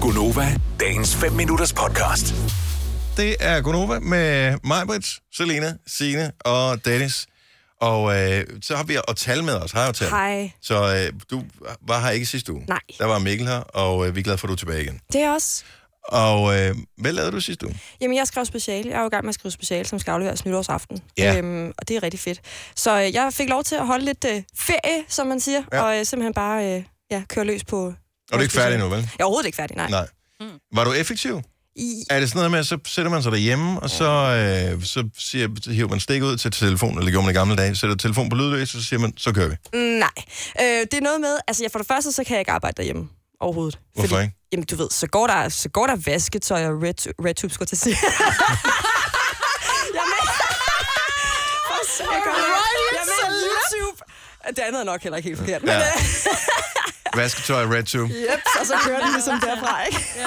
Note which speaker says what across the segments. Speaker 1: Gunova, dagens 5 minutters podcast.
Speaker 2: Det er Gonova med Majbrit, Selena, Sine og Dennis. Og øh, så har vi og tal med os. Hej, og Tal.
Speaker 3: Hej.
Speaker 2: Så øh, du var her ikke sidste uge.
Speaker 3: Nej.
Speaker 2: Der var Mikkel her, og øh, vi er glade for, at du er tilbage igen.
Speaker 3: Det er også.
Speaker 2: Og øh, hvad lavede du sidste uge?
Speaker 3: Jamen, jeg skrev speciale. Jeg er jo i gang med at skrive speciale, som skal afleveres nytårsaften.
Speaker 2: Ja.
Speaker 3: Øhm, og det er rigtig fedt. Så øh, jeg fik lov til at holde lidt øh, ferie, som man siger,
Speaker 2: Ja.
Speaker 3: ja. og øh, simpelthen bare øh, ja, køre løs på... Og
Speaker 2: Og du er ikke færdig nu, vel?
Speaker 3: Jeg er overhovedet ikke færdig, nej.
Speaker 2: Nej.
Speaker 3: Mm.
Speaker 2: Var du effektiv?
Speaker 3: I,
Speaker 2: Er det sådan noget med, at så sætter man sig derhjemme, og så, øh, så, siger, så hiver man stik ud til telefonen, eller det gjorde man i gamle dage, sætter telefonen på lydløs, og så siger man, så kører vi.
Speaker 3: nej. Øh, det er noget med... Altså, jeg, for det første, så kan jeg ikke arbejde derhjemme overhovedet.
Speaker 2: Hvorfor ikke?
Speaker 3: Jamen, du ved, så går der, så går der vasketøj og red, red tube, skulle jeg til at sige. jeg mener... For søren. Jeg mener red tube. Det andet er nok heller ikke helt forkert. Men,
Speaker 2: Ja.
Speaker 3: øh,
Speaker 2: Vasketøj, red tube.
Speaker 3: Yep, og så kører den ligesom derfra, ikke? Ja.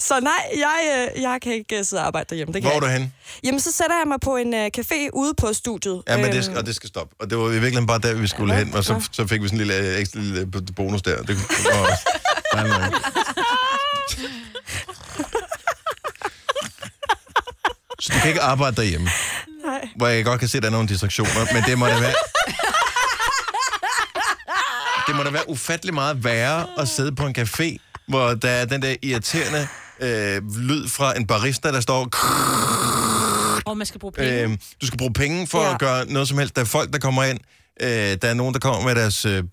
Speaker 3: Så nej, jeg, øh, jeg kan ikke øh, sidde og arbejde derhjemme. Det kan
Speaker 2: Hvor er
Speaker 3: jeg
Speaker 2: du
Speaker 3: ikke.
Speaker 2: hen?
Speaker 3: Jamen, så sætter jeg mig på en øh, café ude på studiet.
Speaker 2: Ja, men det,
Speaker 3: Øhm,
Speaker 2: skal- og det skal stoppe. Og det var i virkeligheden bare der, vi skulle hen, og så, så fik vi sådan en lille øh, ekstra lille b- bonus der. Det, kunne- og, nej, nej. Så du kan ikke arbejde derhjemme,
Speaker 3: Nej.
Speaker 2: hvor jeg godt kan se, at der er nogle distraktioner, men det må da være... Det må da være ufattelig meget værre at sidde på en café, hvor der er den der irriterende øh, lyd fra en barista, der står...
Speaker 4: Og man skal bruge penge.
Speaker 2: Øh, du skal bruge penge for ja.
Speaker 3: Ja.
Speaker 2: at gøre noget som helst. Der er folk, der kommer ind. Øh, der er nogen, der kommer med deres øh,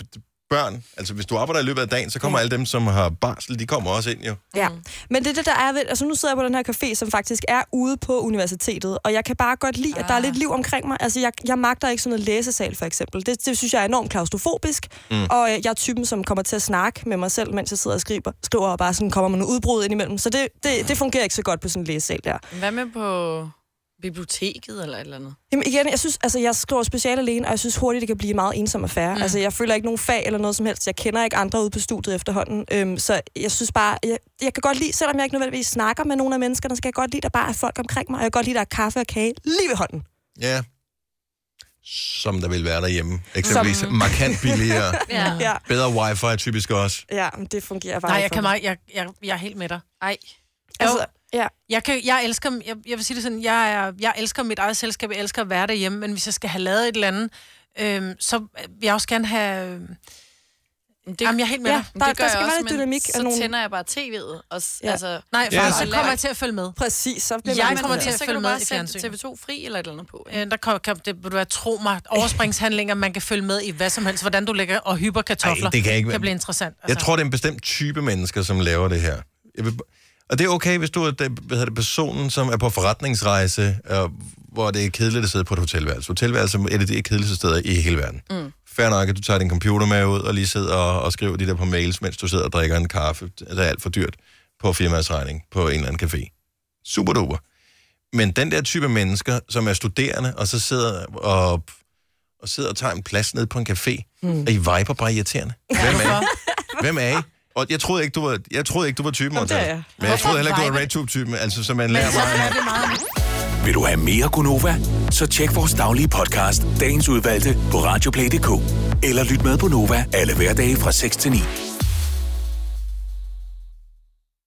Speaker 2: børn. Altså, hvis du arbejder i løbet af dagen, så kommer ja. alle dem, som har barsel, de kommer også ind jo.
Speaker 3: Ja, men det er det, der er ved... Altså, nu sidder jeg på den her café, som faktisk er ude på universitetet, og jeg kan bare godt lide, at der er lidt liv omkring mig. Altså, jeg, jeg magter ikke sådan noget læsesal, for eksempel. Det, det synes jeg er enormt klaustrofobisk, mm. og øh, jeg er typen, som kommer til at snakke med mig selv, mens jeg sidder og skriver, skriver og bare sådan kommer med nogle udbrud indimellem. Så det, det, det fungerer ikke så godt på sådan en læsesal der.
Speaker 5: Hvad med på biblioteket eller et eller andet?
Speaker 3: Jamen igen, jeg synes, altså jeg skriver speciale alene, og jeg synes hurtigt, det kan blive en meget ensom affære. Mm. Altså jeg føler ikke nogen fag eller noget som helst. Jeg kender ikke andre ude på studiet efterhånden. Øhm, så jeg synes bare, jeg, jeg kan godt lide, selvom jeg ikke nødvendigvis snakker med nogen af menneskerne, så kan jeg godt lide, at der bare er folk omkring mig, og jeg kan godt lide, at der er kaffe og kage lige ved hånden.
Speaker 2: Ja. Som der vil være derhjemme. Eksempelvis som... markant billigere.
Speaker 4: Ja.
Speaker 3: Ja,
Speaker 2: Bedre wifi typisk også.
Speaker 3: ja men det fungerer bare
Speaker 4: Ah.
Speaker 3: ikke
Speaker 4: Nej, jeg
Speaker 3: for
Speaker 4: kan
Speaker 3: mig.
Speaker 4: meget, jeg, jeg, jeg er helt med dig.
Speaker 5: Ej.
Speaker 4: Altså,
Speaker 3: Altså, ja.
Speaker 4: jeg, kan, jeg elsker, jeg, jeg vil sige det sådan, jeg, er, jeg elsker mit eget selskab, jeg elsker at være derhjemme, men hvis jeg skal have lavet et eller andet, øhm, så vil jeg også gerne have... øhm,
Speaker 5: Det,
Speaker 4: Jamen, jeg er helt med
Speaker 3: Ja.
Speaker 4: dig.
Speaker 5: men
Speaker 3: der-
Speaker 5: det
Speaker 3: der
Speaker 5: gør jeg
Speaker 3: skal være
Speaker 5: også,
Speaker 3: lidt
Speaker 5: men
Speaker 3: dynamik
Speaker 5: så
Speaker 3: af nogle-
Speaker 5: tænder jeg bare tv'et. Og, s-
Speaker 3: Ja.
Speaker 5: altså,
Speaker 4: Nej, for
Speaker 2: Ja,
Speaker 4: ellers så
Speaker 2: altså-
Speaker 4: kommer jeg til at følge med.
Speaker 3: Præcis, så bliver
Speaker 4: Jeg
Speaker 3: man
Speaker 4: kommer
Speaker 3: sådan
Speaker 4: til
Speaker 3: der.
Speaker 5: så
Speaker 4: at følge
Speaker 5: kan du
Speaker 4: med
Speaker 5: bare
Speaker 4: i
Speaker 5: sætte
Speaker 4: fjernsynet.
Speaker 5: TV2 fri eller et eller andet på. ikke?
Speaker 4: Øh, Der kan, kan det, vil du være, tro mig, overspringshandlinger, man kan følge med i hvad som helst, hvordan du lægger og hyper kartofler.
Speaker 2: Ej, det kan ikke være-
Speaker 4: kan blive interessant. altså.
Speaker 2: Jeg tror, det er en bestemt type mennesker, som laver det her. Jeg vil... Og det er okay, hvis du er den- hvad hedder det, personen, som er på forretningsrejse, og hvor det er kedeligt at sidde på et hotelværelse. Hotelværelse er et af de kedeligste steder i hele verden. Mm. Fair nok, at du tager din computer med ud og lige sidder og, og skriver de der på mails, mens du sidder og drikker en kaffe. Det er alt for dyrt på firmaets regning på en eller anden café. Super duper. Men den der type mennesker, som er studerende, og så sidder og, og, sidder og tager en plads ned på en café, mm. og I viber bare irriterende. Hvem er I? Hvem er I? Og jeg troede ikke, du var, jeg troede ikke, du var typen,
Speaker 3: Jamen, det er
Speaker 2: Morten.
Speaker 3: jeg.
Speaker 2: Men jeg troede heller ikke, du var
Speaker 4: Hvorfor
Speaker 2: RedTube-typen, altså som man lærer mig.
Speaker 4: det er meget
Speaker 1: Vil du have mere Gunova? Så tjek vores daglige podcast, dagens udvalgte, på radioplay.dk. Eller lyt med på Nova alle hverdage fra 6 til 9.